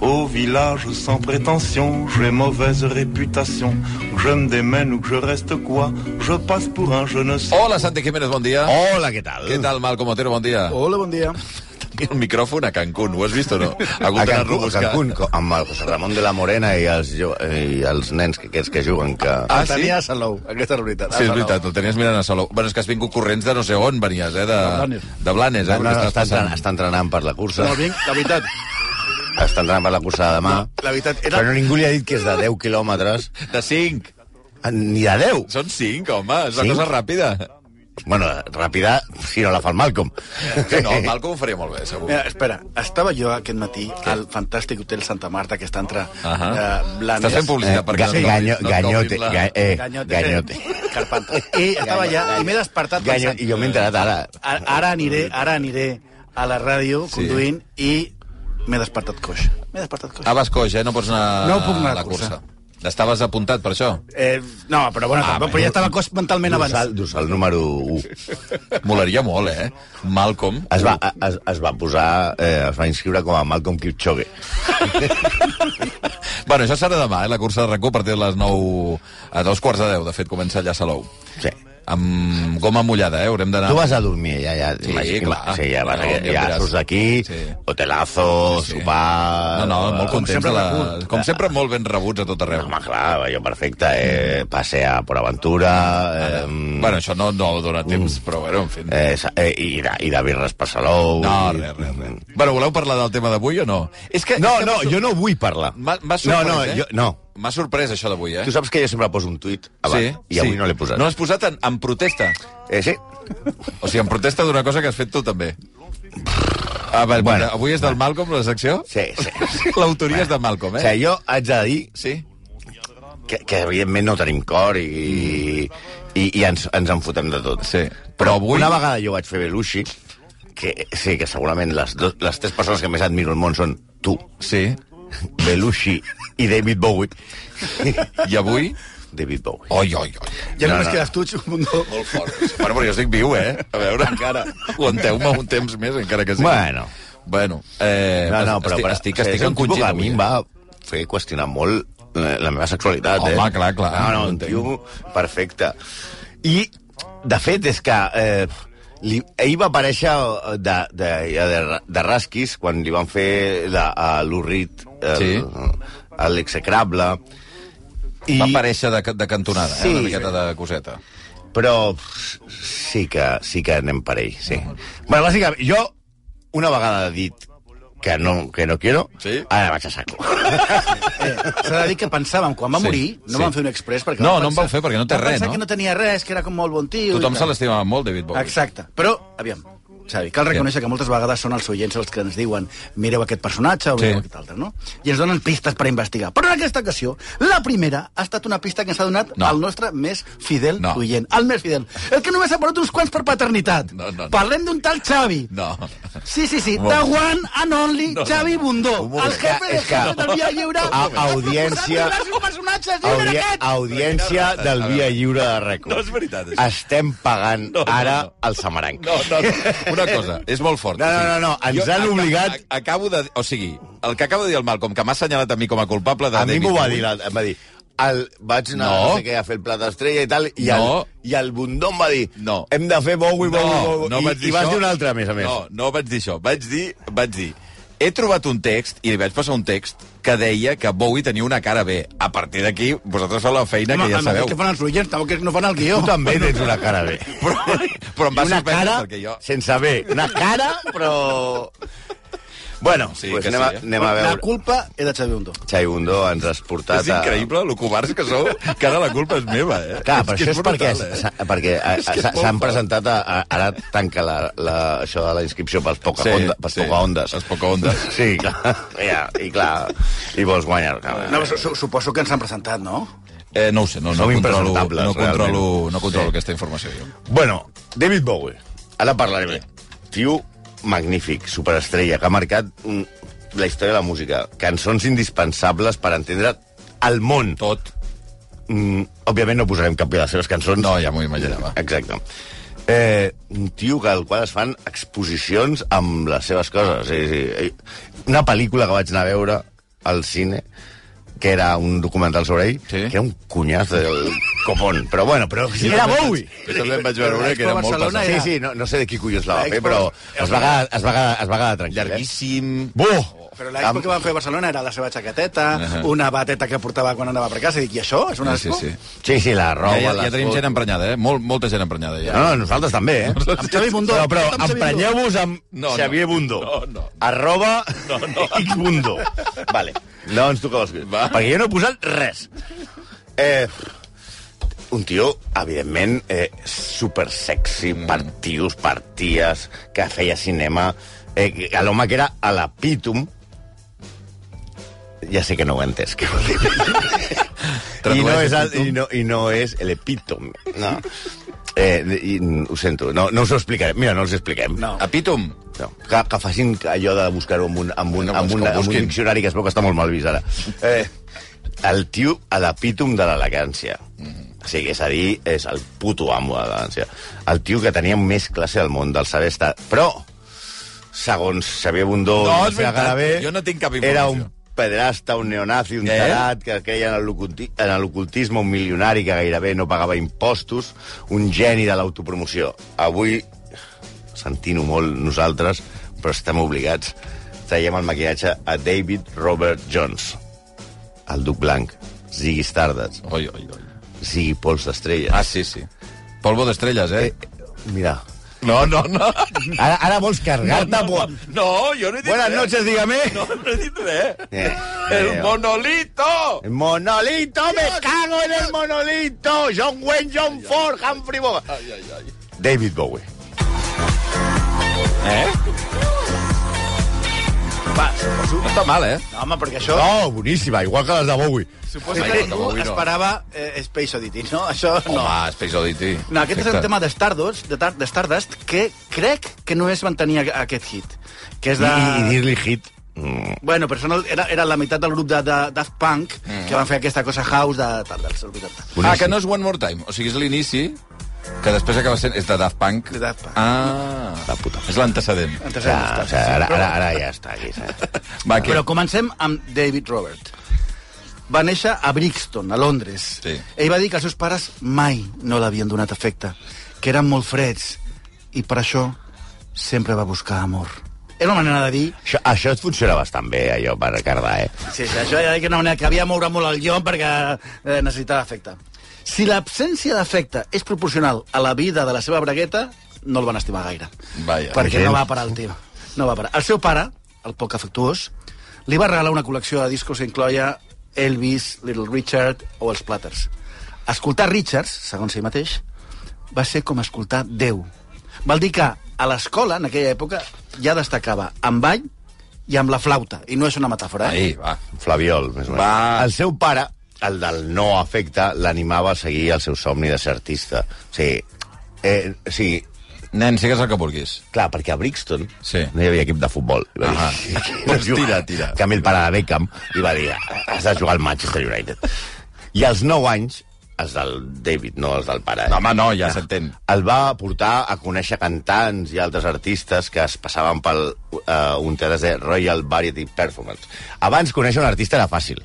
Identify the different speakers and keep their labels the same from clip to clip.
Speaker 1: au village sans prétention, j'ai mauvaise réputation. Que je me démène ou que je reste quoi, je passe pour un je ne sais.
Speaker 2: Hola, Santi Jiménez, bon dia.
Speaker 3: Hola, què tal?
Speaker 2: Què tal, Malcom Otero, bon dia.
Speaker 4: Hola, bon dia.
Speaker 2: Tenia un micròfon a Cancún, ho has vist o no? Ha hagut
Speaker 3: A
Speaker 2: d'anar-lo a
Speaker 3: Cancún, a
Speaker 2: buscar.
Speaker 3: Cancún, co- amb el José Ramon de la Morena i els, jo, i els nens que, aquests que juguen. Que...
Speaker 2: Ah,
Speaker 4: el
Speaker 2: sí?
Speaker 4: tenia a Salou, aquesta és la veritat.
Speaker 2: Sí, és veritat, el tenies mirant a Salou. Bueno, és que has vingut corrents de no sé on venies, eh? De, de
Speaker 4: Blanes.
Speaker 2: De Blanes, eh?
Speaker 3: No, no,
Speaker 2: Perquè estàs
Speaker 3: està, entrenant,
Speaker 2: passant.
Speaker 3: està entrenant per la cursa.
Speaker 4: No, vinc, la veritat,
Speaker 3: Està entrenant per la cursa de
Speaker 2: Ah.
Speaker 3: demà.
Speaker 4: la veritat, era...
Speaker 3: Però ningú li ha dit que és de 10 quilòmetres.
Speaker 2: De 5.
Speaker 3: Ni de 10!
Speaker 2: Són 5, home, és una
Speaker 3: Cinc?
Speaker 2: cosa ràpida.
Speaker 3: Bueno, ràpida, si no la fa el Malcolm.
Speaker 2: Que no, el Malcom ho faria molt bé, segur.
Speaker 4: Mira, espera, estava jo aquest matí al fantàstic hotel Santa Marta que està entre uh
Speaker 2: Ahà.
Speaker 4: -huh. Blanes...
Speaker 2: Estàs fent publicitat perquè no et
Speaker 3: Eh, ganyo,
Speaker 2: cobrin- no et
Speaker 3: ganyote,
Speaker 2: cobrin la-
Speaker 3: ga, eh,
Speaker 4: Ganyote.
Speaker 3: ganyote.
Speaker 4: Carpanta. I estava allà, i m'he despertat
Speaker 3: Ganyo,
Speaker 4: pensant...
Speaker 3: I jo m'he enterat ara.
Speaker 4: Ara, ara aniré, ara aniré a la ràdio
Speaker 2: Sí.
Speaker 4: conduint i m'he despertat coix. M'he despertat coix.
Speaker 2: Ah, vas coix, eh? No pots anar
Speaker 4: No puc anar
Speaker 2: a
Speaker 4: a
Speaker 2: la cursa.
Speaker 4: cursa.
Speaker 2: Estaves apuntat per això?
Speaker 4: Eh, no, però bueno,
Speaker 2: Ah,
Speaker 4: tampoc, però ja estava coix mentalment abans.
Speaker 3: Dorsal, dorsal número 1.
Speaker 2: Molaria molt, eh? Malcolm.
Speaker 3: Es va, es, es va posar, eh, es va inscriure com a Malcolm Kipchoge.
Speaker 2: Bueno, això serà demà, eh? La cursa de RAC1 a partir de les 9... A dos quarts de 10, de fet, comença allà a Salou.
Speaker 3: Sí.
Speaker 2: Amb goma mullada, eh? Haurem d'anar...
Speaker 3: Tu vas a dormir, ja, ja.
Speaker 2: Sí,
Speaker 3: imagina-
Speaker 2: clar.
Speaker 3: Sí, ja, vas,
Speaker 2: No,
Speaker 3: ja,
Speaker 2: ja
Speaker 3: ja
Speaker 2: veràs.
Speaker 3: surts d'aquí,
Speaker 2: Sí.
Speaker 3: sí. hotelazo,
Speaker 2: Sí,
Speaker 3: sí,
Speaker 2: sí.
Speaker 3: sopar...
Speaker 2: No, no, molt
Speaker 3: eh,
Speaker 2: contents de la...
Speaker 4: rebuts.
Speaker 2: Com sempre, molt ben rebuts a tot arreu.
Speaker 3: Ah, Home, clar, allò perfecte, eh, passear per Aventura... Eh,
Speaker 2: Bueno, això Ah, no, no dona temps, però bueno, en fi.
Speaker 3: Mm. eh, sa- eh, i, de, i de birres per Salou...
Speaker 2: No,
Speaker 3: i-
Speaker 2: res, res, res. Bueno, voleu parlar del tema d'avui o no? És que,
Speaker 3: No,
Speaker 2: és que
Speaker 3: no,
Speaker 2: m'ha sor-
Speaker 3: jo no vull parlar.
Speaker 2: M'ha m'ha
Speaker 3: no,
Speaker 2: sorprès,
Speaker 3: no,
Speaker 2: eh?
Speaker 3: jo, no.
Speaker 2: M'ha sorprès això d'avui, eh?
Speaker 3: Tu saps que jo sempre poso un tuit abans, i avui no l'he posat.
Speaker 2: No l'has posat en, en protesta.
Speaker 3: Eh, sí?
Speaker 2: O sigui, en protesta d'una cosa que has fet tu també. Ah, va, bueno,
Speaker 3: Bueno.
Speaker 2: avui és del Malcolm, la secció?
Speaker 3: Sí, sí.
Speaker 2: L'autoria és de Malcolm,
Speaker 3: O
Speaker 2: eh?
Speaker 3: sigui, jo haig de dir
Speaker 2: Sí.
Speaker 3: que, que evidentment no tenim cor i, i, i ens, ens en fotem de tot.
Speaker 2: Sí. Però
Speaker 3: Però
Speaker 2: avui-
Speaker 3: avui... Una vegada jo vaig fer Belushi, que sí, que segurament les, do, les tres persones que més admiro al món són tu,
Speaker 2: Sí.
Speaker 3: Belushi i David Bowie.
Speaker 2: I avui?
Speaker 3: David Bowie.
Speaker 2: Oi, oi, oi.
Speaker 4: Ja
Speaker 3: No,
Speaker 4: només
Speaker 3: no.
Speaker 4: quedes tu, Xumundo.
Speaker 2: Molt fort. Bueno, però jo estic viu, eh? A veure, encara. Aguanteu-me un temps més, encara que sigui.
Speaker 3: Bueno.
Speaker 2: Bueno, eh,
Speaker 3: No, no, però...
Speaker 2: estic,
Speaker 3: però
Speaker 2: estic,
Speaker 3: o sigui,
Speaker 2: estic
Speaker 3: és un tipus
Speaker 2: encongit
Speaker 3: que a
Speaker 2: avui,
Speaker 3: mi
Speaker 2: eh?
Speaker 3: em va fer qüestionar molt eh, la meva sexualitat, eh?
Speaker 2: Home, clar, clar,
Speaker 3: No,
Speaker 2: no
Speaker 3: no,
Speaker 2: ho
Speaker 3: un
Speaker 2: entenc.
Speaker 3: tio perfecte. I, de fet, és que... Eh, li, ell va aparèixer de, de, de, de rasquis quan li van fer la, a l'Urrit,
Speaker 2: Sí.
Speaker 3: l'execrable, i,
Speaker 2: eh? Va aparèixer de, ca- de cantonada, eh?
Speaker 3: Sí.
Speaker 2: una miqueta de coseta.
Speaker 3: però pff, sí que, sí que anem per ell, sí. Bueno, bàsicament, jo una vegada dit que no, que no quiero,
Speaker 2: Sí.
Speaker 3: ara vaig a saco.
Speaker 4: Eh, S'ha de dir que pensàvem, quan va
Speaker 2: Sí,
Speaker 4: morir, no
Speaker 2: sí.
Speaker 4: vam fer un express perquè...
Speaker 2: No,
Speaker 4: vam
Speaker 2: no en
Speaker 4: pensar-
Speaker 2: vau fer perquè no té
Speaker 4: vam
Speaker 2: res,
Speaker 4: pensar
Speaker 2: no?
Speaker 4: que no tenia res, que era com molt bon tio... i
Speaker 2: Tothom se
Speaker 4: tal.
Speaker 2: l'estimava molt, David Bowie.
Speaker 4: Exacte. Però, aviam, Xavi, cal reconèixer que moltes vegades són els oients els que ens diuen mireu aquest personatge o
Speaker 2: Sí.
Speaker 4: mireu aquest altre, no? I ens donen pistes per investigar. Però en aquesta ocasió, la primera ha estat una pista que ens ha donat
Speaker 2: No.
Speaker 4: el nostre més fidel
Speaker 2: No.
Speaker 4: oient. El més fidel. El que només ha portat uns quants per paternitat.
Speaker 2: No, no, no.
Speaker 4: Parlem d'un tal Xavi.
Speaker 2: No.
Speaker 4: Sí, sí, sí,
Speaker 2: Un
Speaker 4: the
Speaker 2: moment.
Speaker 4: one and only
Speaker 2: No, no.
Speaker 4: Xavi Bundó,
Speaker 2: Un moment.
Speaker 4: el jefe del
Speaker 3: És que-
Speaker 4: jefe del Via Lliure.
Speaker 3: A- audiència-
Speaker 4: Ens ha proposat diversos personatges, lliure
Speaker 3: Audi
Speaker 4: aquest!
Speaker 3: audiència del Via Lliure de RAC1.
Speaker 2: No és veritat, això.
Speaker 3: Estem pagant
Speaker 2: No, no,
Speaker 3: ara
Speaker 2: no.
Speaker 3: el Samaranc.
Speaker 2: No, no, no. Una cosa, és molt fort.
Speaker 3: No,
Speaker 2: o sigui,
Speaker 3: no, no, no, ens
Speaker 2: jo
Speaker 3: han
Speaker 2: aca-
Speaker 3: obligat-
Speaker 2: a- Acabo de... O sigui, el que acaba de dir el Malcolm, que m'ha assenyalat a mi com a culpable de
Speaker 3: A mi
Speaker 2: David
Speaker 3: m'ho va
Speaker 2: Bowie.
Speaker 3: dir, la- em va dir... El, vaig anar
Speaker 2: No.
Speaker 3: no. no sé què, a fer el plat estrella i tal, i,
Speaker 2: No.
Speaker 3: el, i el Bundó em va dir
Speaker 2: No.
Speaker 3: hem de fer Bowie,
Speaker 2: No,
Speaker 3: Bowie, Bowie.
Speaker 2: no
Speaker 3: I,
Speaker 2: vaig dir
Speaker 3: I vas
Speaker 2: això.
Speaker 3: dir un altre, a més a més.
Speaker 2: No, no vaig dir això. Vaig dir, vaig dir, he trobat un text, i li vaig passar un text, que deia que Bowie tenia una cara bé. A partir d'aquí, vosaltres feu la feina
Speaker 4: Home,
Speaker 2: que ja
Speaker 4: el mateix
Speaker 2: sabeu.
Speaker 4: que fan els oients, tampoc és- no fan el guió.
Speaker 3: Tu també tens una cara bé.
Speaker 2: Però, però em va
Speaker 3: una
Speaker 2: sorprendre
Speaker 3: cara
Speaker 2: perquè jo...
Speaker 3: sense bé. Una cara, però... Bueno,
Speaker 2: Sí,
Speaker 3: pues
Speaker 2: que
Speaker 3: anem,
Speaker 2: sí, eh?
Speaker 3: a, anem a
Speaker 4: La
Speaker 3: veure.
Speaker 4: culpa és de Xavi Bundó.
Speaker 3: Xai Bundó ens has portat
Speaker 2: És increïble, lo covards que sou, que ara la culpa és meva, eh?
Speaker 3: Clar, però
Speaker 2: que
Speaker 3: això és perquè
Speaker 2: brutal, eh?
Speaker 3: s'ha- perquè a-
Speaker 2: És que
Speaker 3: a-
Speaker 2: és
Speaker 3: s'ha-
Speaker 2: molt
Speaker 3: s'han
Speaker 2: fort.
Speaker 3: presentat a, a, ara tanca la, la, això de la inscripció pels poca
Speaker 2: Sí,
Speaker 3: sí, onda, pels
Speaker 2: sí,
Speaker 3: sí, poca ondes.
Speaker 2: els Pocahontas.
Speaker 3: Sí, clar. Ja, I clar, i vols guanyar. Clar,
Speaker 4: No, su- su- suposo que ens han presentat, no?
Speaker 2: Eh, no ho sé, no, no, controlo,
Speaker 3: Som
Speaker 2: no
Speaker 3: impresentables,
Speaker 2: controlo,
Speaker 3: realment.
Speaker 2: no controlo
Speaker 3: Sí.
Speaker 2: aquesta informació. Jo.
Speaker 3: Bueno, David Bowie. Ara parlarem. Tio magnífic, superestrella, que ha marcat mm, la història de la música. Cançons indispensables per entendre el món.
Speaker 2: Tot.
Speaker 3: Mm, òbviament no posarem cap de les seves cançons.
Speaker 2: No, ja m'ho imaginava.
Speaker 3: Exacte. Eh, un tio que, al qual es fan exposicions amb les seves coses. Sí, sí. Una pel·lícula que vaig anar a veure al cine que era un documental sobre ell,
Speaker 2: Sí.
Speaker 3: que era un cunyaz del copón. Però bueno, però... Era Bowie!
Speaker 2: Jo també en vaig veure una que era molt
Speaker 4: Barcelona
Speaker 2: passada.
Speaker 3: Sí, sí, no, no sé de qui collons la va fer, però es va quedar, es va quedar, es va quedar tranquil. eh?
Speaker 2: Llarguíssim.
Speaker 3: Buh!
Speaker 4: Però l'expo que van fer a Barcelona era la seva jaqueteta,
Speaker 2: Ahà.
Speaker 4: una bateta que portava quan anava per casa, i dic, i això? És una
Speaker 2: Sí,
Speaker 4: expo?
Speaker 2: sí, sí.
Speaker 3: Ah, Sí, sí, la roba...
Speaker 2: Ja, ja, ja
Speaker 3: les
Speaker 2: tenim
Speaker 3: fotos.
Speaker 2: gent emprenyada, eh? Molt, molta gent emprenyada, ja.
Speaker 3: No, no, nosaltres també, eh?
Speaker 4: Amb Xavi Bundó.
Speaker 3: Però, però
Speaker 4: Tot amb Xavi Bundó.
Speaker 3: emprenyeu-vos amb
Speaker 2: No, no.
Speaker 3: Xavier Bundó.
Speaker 2: No, no.
Speaker 3: Arroba no, no. Bundó. Vale. No ens toca les
Speaker 2: Va.
Speaker 3: Perquè jo no he posat res. Eh, un tio, evidentment, eh, super sexy, mm. partius, parties, que feia cinema... Eh, a l'home que era a la Pítum, ja sé que no ho he entès, què vol dir. I no
Speaker 2: Tradueix
Speaker 3: és, el,
Speaker 2: epítom.
Speaker 3: i no, i no és l'epítom. No. Eh, i, ho sento, no, no us ho explicarem. Mira, no els expliquem.
Speaker 4: No.
Speaker 2: Epítom.
Speaker 3: No. Que, que facin allò de buscar-ho amb un, amb un,
Speaker 2: No,
Speaker 3: amb
Speaker 2: és
Speaker 3: un,
Speaker 2: que ho
Speaker 3: amb un
Speaker 2: busquin.
Speaker 3: diccionari que es veu que està molt mal vist ara. Eh, el tio a l'epítom de l'elegància.
Speaker 2: Mm-hmm.
Speaker 3: O sigui, és a dir, és el puto amo de l'elegància. El tio que tenia més classe del món, del saber estar... Però, segons Xavier Bundó...
Speaker 2: No,
Speaker 3: i
Speaker 2: és
Speaker 3: Lucía
Speaker 2: veritat.
Speaker 3: Garabé,
Speaker 2: Jo no tinc cap
Speaker 3: Era
Speaker 2: informació.
Speaker 3: un pedrasta, un neonazi, un
Speaker 2: Eh?
Speaker 3: tarat, que creia en l'oculti- en l'ocultisme, un milionari que gairebé no pagava impostos, un geni de l'autopromoció. Avui sentint-ho molt nosaltres, però estem obligats. Traiem el maquillatge a David Robert Jones, el Duc Blanc, Ziggy Stardust,
Speaker 2: Oi, oi, oi.
Speaker 3: Ziggy Pols d'Estrella.
Speaker 2: Ah, sí, sí. Polvo d'estrelles, eh?
Speaker 3: Eh, mira,
Speaker 2: No, no, no.
Speaker 3: ara, ara vols cargar-te...
Speaker 2: No, no, no, jo no he dit
Speaker 3: Buenas
Speaker 2: res.
Speaker 3: noches, dígame.
Speaker 2: No, no he dit res.
Speaker 3: Eh,
Speaker 2: El
Speaker 3: eh,
Speaker 2: monolito!
Speaker 3: El monolito, me cago en el monolito. John Wayne, John Ford, Humphrey Bogart. David Bowie.
Speaker 2: Eh?
Speaker 4: Va, suposo,
Speaker 2: No està mal, eh?
Speaker 4: no, home, perquè això...
Speaker 3: No, boníssima, Oh, igual que les de Bowie.
Speaker 4: Suposo
Speaker 2: Ai,
Speaker 4: que
Speaker 2: no,
Speaker 4: ningú
Speaker 2: avui no.
Speaker 4: esperava eh, Space Oddity, no? Això
Speaker 2: No.
Speaker 4: no.
Speaker 2: Home, Space Oddity.
Speaker 4: No, aquest és el
Speaker 2: Perfecte.
Speaker 4: tema de Stardust, de, Tar- de Stardust, que crec que només van tenir a- aquest hit. Que és de...
Speaker 3: dir-li hit... Mm.
Speaker 4: Bueno, però són el, era, era la meitat del grup de, de Daft Punk mm. que van fer aquesta cosa house de tal dels 80.
Speaker 2: Ah, que no és One More Time. O sigui, és l'inici, que després acaba sent... És de Daft Punk.
Speaker 4: De Daft Punk.
Speaker 2: Ah.
Speaker 3: La puta.
Speaker 2: És l'antecedent.
Speaker 4: Antes
Speaker 3: Ja,
Speaker 4: ja,
Speaker 3: o sigui, ara, ara, ara ja està aquí. saps?
Speaker 2: Va, què?
Speaker 4: Però comencem amb David Robert. Va néixer a Brixton, a Londres.
Speaker 2: Sí.
Speaker 4: Ell va dir que els seus pares mai no l'havien donat afecte, que eren molt freds, i per això sempre va buscar amor. Era una manera de dir...
Speaker 3: Això, això et funciona bastant bé, allò, per cardar, eh?
Speaker 4: Sí, sí, això era una manera que havia de moure molt el llom perquè eh, necessitava afecte. Si l'absència d'afecte és proporcional a la vida de la seva bragueta, no el van estimar gaire.
Speaker 2: Vaja.
Speaker 4: perquè
Speaker 3: Gens.
Speaker 4: no va parar el tema. No va parar. El seu pare, el poc afectuós, li va regalar una col·lecció de discos que incloia Elvis, Little Richard o els Platters. Escoltar Richards, segons ell mateix, va ser com escoltar Déu. Val dir que a l'escola, en aquella època, ja destacava amb ball i amb la flauta. I no és una metàfora, eh?
Speaker 2: Ahí, va.
Speaker 3: Flaviol, més o menys.
Speaker 2: Va.
Speaker 3: El seu pare, el del no afecte, l'animava a seguir el seu somni de ser artista. O sigui, eh, o sigui,
Speaker 2: Nen, sigues el que vulguis.
Speaker 3: clar, perquè a Brixton
Speaker 2: Sí.
Speaker 3: no hi havia equip de futbol. I va dir,
Speaker 2: Ahà. Doncs tira, tira.
Speaker 3: En canvi, el pare de Beckham li va dir, has de jugar al Manchester United. I als 9 anys, els del David, no els del pare. eh?
Speaker 2: No, home, no,
Speaker 4: Ah.
Speaker 2: ja s'entén.
Speaker 3: el va portar a conèixer cantants i altres artistes que es passaven pel uh, un teatre de Royal Variety Performance. Abans conèixer un artista era fàcil.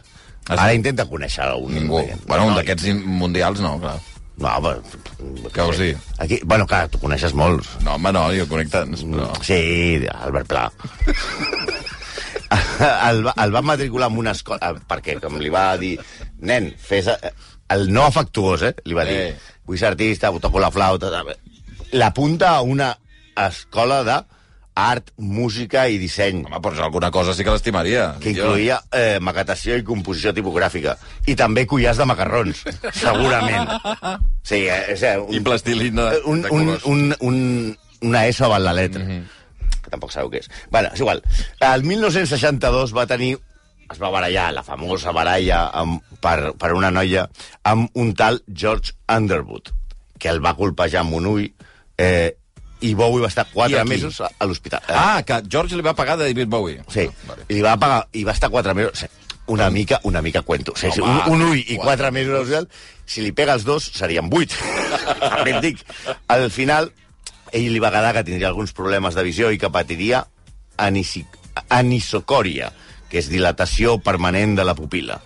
Speaker 2: Ah, sí?
Speaker 3: Ara intenta conèixer un...
Speaker 2: Ningú. Bueno,
Speaker 3: No,
Speaker 2: un d'aquests mundials no, clar.
Speaker 3: No, però...
Speaker 2: Què vols dir?
Speaker 3: Aquí, bueno, clar, tu coneixes molts.
Speaker 2: No, home, no, jo conec tants,
Speaker 3: Mm.
Speaker 2: però...
Speaker 3: Sí, Albert Pla. el, va, el va matricular en una escola... eh, Perquè, com li va dir... Nen, fes... eh, El no afectuós, eh? Li va dir...
Speaker 2: Eh.
Speaker 3: Vull ser artista, toco la flauta... tal". L'apunta a una escola de art, música i disseny
Speaker 2: Home, però és alguna cosa sí que l'estimaria.
Speaker 3: que
Speaker 2: Jo-
Speaker 3: incloïa eh, maquetació i composició tipogràfica. I també collars de macarrons, segurament. Sí, eh, és, eh, un,
Speaker 2: I plastilina de-
Speaker 3: un,
Speaker 2: de
Speaker 3: un,
Speaker 2: colors.
Speaker 3: un, un, una S avant la letra.
Speaker 2: Mhm.
Speaker 3: Mm -hmm. Que tampoc sabeu què és. Bueno, és igual. El 1962 va tenir es va barallar, la famosa baralla amb, per, per una noia amb un tal George Underwood, que el va colpejar amb un ull eh, i Bowie va estar
Speaker 2: I
Speaker 3: quatre
Speaker 2: aquí?
Speaker 3: mesos a, a l'hospital.
Speaker 2: Ah, que George li va pagar de David Bowie.
Speaker 3: Sí,
Speaker 2: Vale.
Speaker 3: i li va pagar, i va estar quatre mesos... sí, Una mica, una mica cuento. Sí, sí, un,
Speaker 2: Home,
Speaker 3: un ull i
Speaker 2: quatre
Speaker 3: quatre mesos d'hospital, si li pega els dos, serien vuit. També et dic. Al final, ell li va quedar que tindria alguns problemes de visió i que patiria anisic- anisocòria, que és dilatació permanent de la pupila.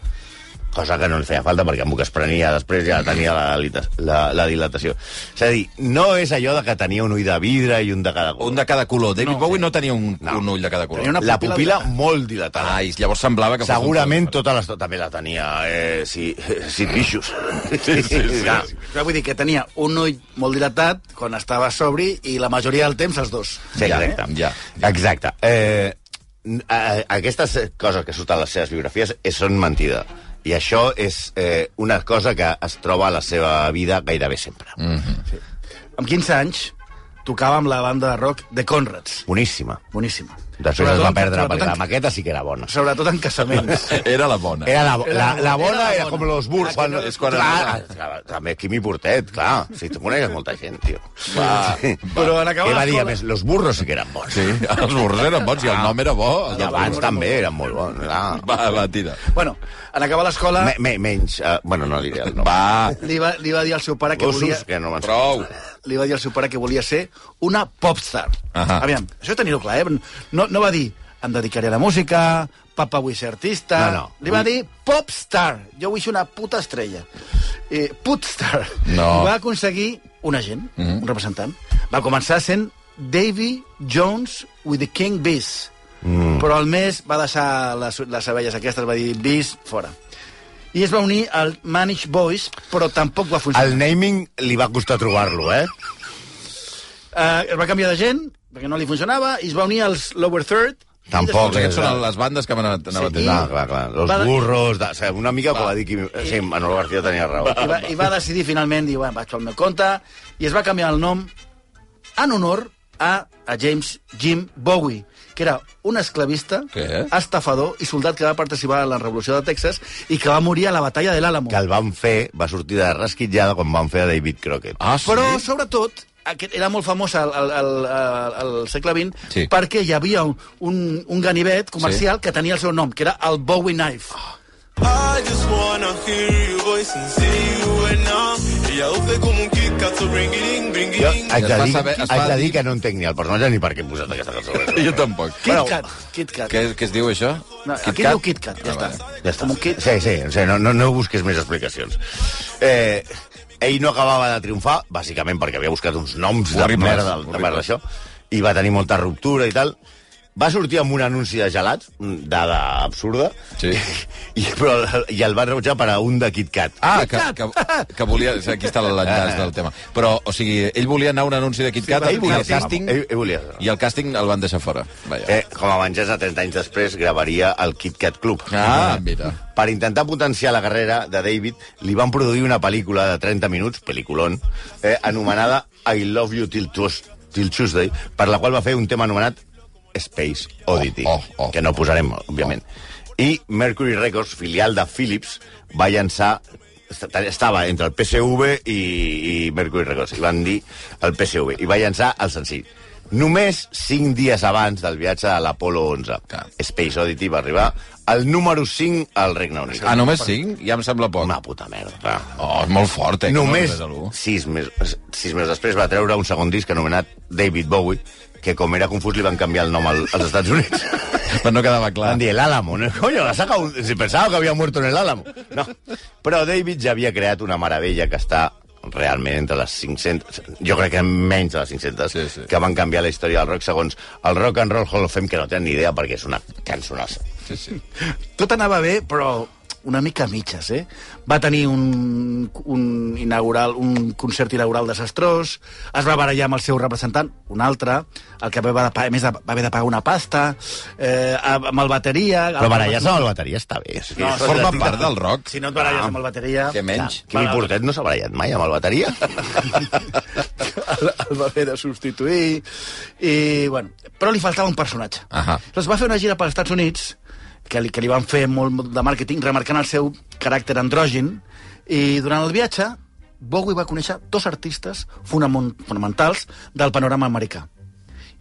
Speaker 3: Cosa que no li feia falta, perquè amb que es prenia després ja tenia la, dilata- la, la dilatació. És a dir, no és allò de que tenia un ull de vidre i un de cada color.
Speaker 2: Un de cada color. David
Speaker 4: No,
Speaker 2: no, Bowie no tenia un,
Speaker 3: No.
Speaker 2: no. un ull de cada color.
Speaker 4: Tenia una
Speaker 3: La
Speaker 4: pupila
Speaker 3: pupila
Speaker 4: dilatada.
Speaker 3: molt dilatada.
Speaker 2: Ah, i llavors semblava que... fos un
Speaker 3: Segurament
Speaker 2: color.
Speaker 3: tota l'estona també la tenia eh, si, si pixos. Sí,
Speaker 4: Clar, però vull dir que tenia un ull molt dilatat quan estava sobri i la majoria del temps els dos.
Speaker 3: Sí, exacte.
Speaker 2: Ja,
Speaker 3: Exacte. Eh, n- a- a- aquestes eh, coses que surten a les seves biografies eh, són mentida. I això és eh, una cosa que es troba a la seva vida gairebé sempre. Mm.
Speaker 4: Amb 15 anys tocava amb la banda de rock de Conrads.
Speaker 3: Boníssima.
Speaker 4: Boníssima.
Speaker 3: Després es
Speaker 4: Sobretot
Speaker 3: va
Speaker 4: en-
Speaker 3: perdre,
Speaker 4: sobretot
Speaker 3: perquè la
Speaker 4: en-
Speaker 3: maqueta sí que era bona.
Speaker 4: Sobretot en casaments.
Speaker 2: Era la bona.
Speaker 3: Era la, la, la,
Speaker 4: la
Speaker 3: bona,
Speaker 4: bona.
Speaker 3: era com los burros.
Speaker 4: Ah,
Speaker 3: Quan,
Speaker 4: que no-
Speaker 2: és quan
Speaker 3: clar,
Speaker 2: era-
Speaker 3: clar, també Quimi Portet, clar. Si tu coneixes molta gent, tio.
Speaker 2: Va,
Speaker 3: Sí.
Speaker 4: Però en acabar
Speaker 3: Què va dir?
Speaker 4: l'escola-
Speaker 3: A més, los burros sí que eren bons.
Speaker 2: Sí, els burros eren bons i el nom era bo. El
Speaker 3: I
Speaker 2: del
Speaker 3: Ah. abans
Speaker 2: burro.
Speaker 3: també eren molt bons. Clar.
Speaker 2: Va, va, tira.
Speaker 4: bueno, en acabar l'escola
Speaker 3: Me, me, menys... Uh, bueno, no diré el nom.
Speaker 2: Va,
Speaker 4: li, va, li va dir al seu pare que volia...
Speaker 3: Gossos, eh? que no me'n
Speaker 2: prou.
Speaker 4: li va dir al seu pare que volia ser una popstar.
Speaker 2: Ahà.
Speaker 4: Aviam, això tenir-ho clar, eh? No, no va dir, em dedicaré a la música, papa vull ser artista...
Speaker 3: No, no.
Speaker 4: Li va
Speaker 3: Vull-
Speaker 4: dir popstar. Jo vull ser una puta estrella. Eh, putstar.
Speaker 2: No.
Speaker 4: I va aconseguir un agent, mm -hmm. un representant. Va començar sent Davy Jones with the King Bees. Mm. Però al mes va deixar les, les abelles aquestes, va dir Bees, fora. I es va unir al Manish Boys, però tampoc va funcionar.
Speaker 3: El naming li va costar trobar-lo, eh?
Speaker 4: Eh, es va canviar de gent, perquè no li funcionava, i es va unir als Lower Third. i
Speaker 2: Doncs
Speaker 3: Tampoc,
Speaker 4: després-
Speaker 2: aquestes
Speaker 3: eh.
Speaker 2: són les bandes que van anar
Speaker 4: Sí,
Speaker 2: a
Speaker 4: i-
Speaker 2: tenir.
Speaker 3: Clar, clar, clar. Los
Speaker 4: Va-
Speaker 3: burros... De... O sigui, una mica que va dir... Quimi... Sí, Manolo García tenia raó.
Speaker 4: I va, I va decidir finalment, dir, bueno, vaig al meu compte, i es va canviar el nom en honor a, a James Jim Bowie, que era un esclavista,
Speaker 2: Què?
Speaker 4: estafador i soldat que va participar a la Revolució de Texas i que va morir a la batalla de l'Àlamo.
Speaker 3: Que el van fer, va sortir de rasquitjada quan van fer a David Crockett.
Speaker 2: Ah, sí?
Speaker 4: Però, sobretot, aquest era molt famós al, al, al, al al segle XX
Speaker 2: Sí.
Speaker 4: perquè hi havia un, un, un ganivet comercial sí. que tenia el seu nom, que era el Bowie Knife.
Speaker 5: I just wanna hear your voice and see you and now. Yeah, upe como un Kit Kat, so bring it in, bring it
Speaker 3: Jo
Speaker 5: in.
Speaker 3: haig de,
Speaker 2: Es va
Speaker 3: dir,
Speaker 2: saber- es
Speaker 3: haig
Speaker 2: va
Speaker 3: de
Speaker 2: dir-
Speaker 3: dir que no entenc ni el personatge ni per què he posat aquesta cançó.
Speaker 2: Jo tampoc.
Speaker 4: Kit
Speaker 2: Bueno,
Speaker 4: Kat, Kit Kat.
Speaker 2: Què, què es diu, això?
Speaker 4: No,
Speaker 2: Kit
Speaker 4: aquí
Speaker 2: Kat?
Speaker 4: diu Kit Kat, ja
Speaker 2: Ah,
Speaker 4: està.
Speaker 2: vale.
Speaker 3: Ja està.
Speaker 4: Com un Kit.
Speaker 3: Sí, sí, o sigui, no, no, no busques més explicacions. Eh, ell no acabava de triomfar, bàsicament perquè havia buscat uns noms de
Speaker 2: Horribles,
Speaker 3: merda, de
Speaker 2: horribles.
Speaker 3: merda això, i va tenir molta ruptura i tal. Va sortir amb un anunci de gelats, mm, dada absurda,
Speaker 2: Sí.
Speaker 3: i, però, i el van rebutjar per a un de Kit Kat.
Speaker 2: Ah, que, que, que volia... Aquí està l'enllaç del tema. Però, o sigui, ell volia anar a un anunci de Kit Kat,
Speaker 3: ell
Speaker 2: ell volia
Speaker 3: volia
Speaker 2: el càsting,
Speaker 3: ell, ell volia...
Speaker 2: i el càsting el van deixar fora. Vaja.
Speaker 3: Eh, com a venjança, 30 anys després, gravaria el Kit Kat Club.
Speaker 2: Ah, mira.
Speaker 3: Per intentar potenciar la carrera de David, li van produir una pel·lícula de 30 minuts, peliculón, eh, anomenada I Love You Till, Tues, Till Tuesday, per la qual va fer un tema anomenat Space Oddity,
Speaker 2: Oh, oh, oh.
Speaker 3: que no posarem, òbviament. I Mercury Records, filial de Philips, va llançar est- estava entre el PSV i, i Mercury Records, i van dir el PSV, i va llançar el senzill. Només 5 dies abans del viatge a l'Apolo 11,
Speaker 2: Clar.
Speaker 3: Space Oddity va arribar al número 5 al Regne Unit.
Speaker 2: Ah, només 5? Ja em sembla poc.
Speaker 3: Una puta merda. Clar.
Speaker 2: Oh, és molt fort, eh? que
Speaker 3: Només
Speaker 2: No, només
Speaker 3: sis mesos, sis mesos després va treure un segon disc anomenat David Bowie, que com era confús li van canviar el nom al, als Estats Units.
Speaker 2: l'u. Però no quedava clar.
Speaker 3: Van dir, el Álamo, no, coño, la saca un... Si pensava que havia mort en el Álamo. No. Però David ja havia creat una meravella que està realment entre les 500... Jo crec que menys de les 500
Speaker 2: Sí, sí.
Speaker 3: que van canviar la història del rock segons el Rock and Roll Hall of Fame, que no tenen ni idea perquè és una cançonassa.
Speaker 2: Sí, sí.
Speaker 4: Tot anava bé, però una mica a mitges, eh? Va tenir un, un, inaugural, un concert inaugural desastrós, es va barallar amb el seu representant, un altre, el que va, de, pa- a més va haver de pagar una pasta, eh, amb el bateria...
Speaker 3: Però barallar-se amb el bateria està bé. és que
Speaker 4: No,
Speaker 3: és
Speaker 4: sí,
Speaker 2: Forma
Speaker 3: la-
Speaker 2: part del rock.
Speaker 4: Si no et baralles amb el bateria...
Speaker 2: Què menys?
Speaker 3: Quimi Portet no s'ha barallat mai amb el bateria?
Speaker 4: el, el va haver de substituir i, bueno, però li faltava un personatge
Speaker 2: Ahà.
Speaker 4: llavors va fer una gira pels Estats Units que li, que li van fer molt, molt de màrqueting remarcant el seu caràcter andrògin i durant el viatge Bowie va conèixer dos artistes fonamon- fonamentals del panorama americà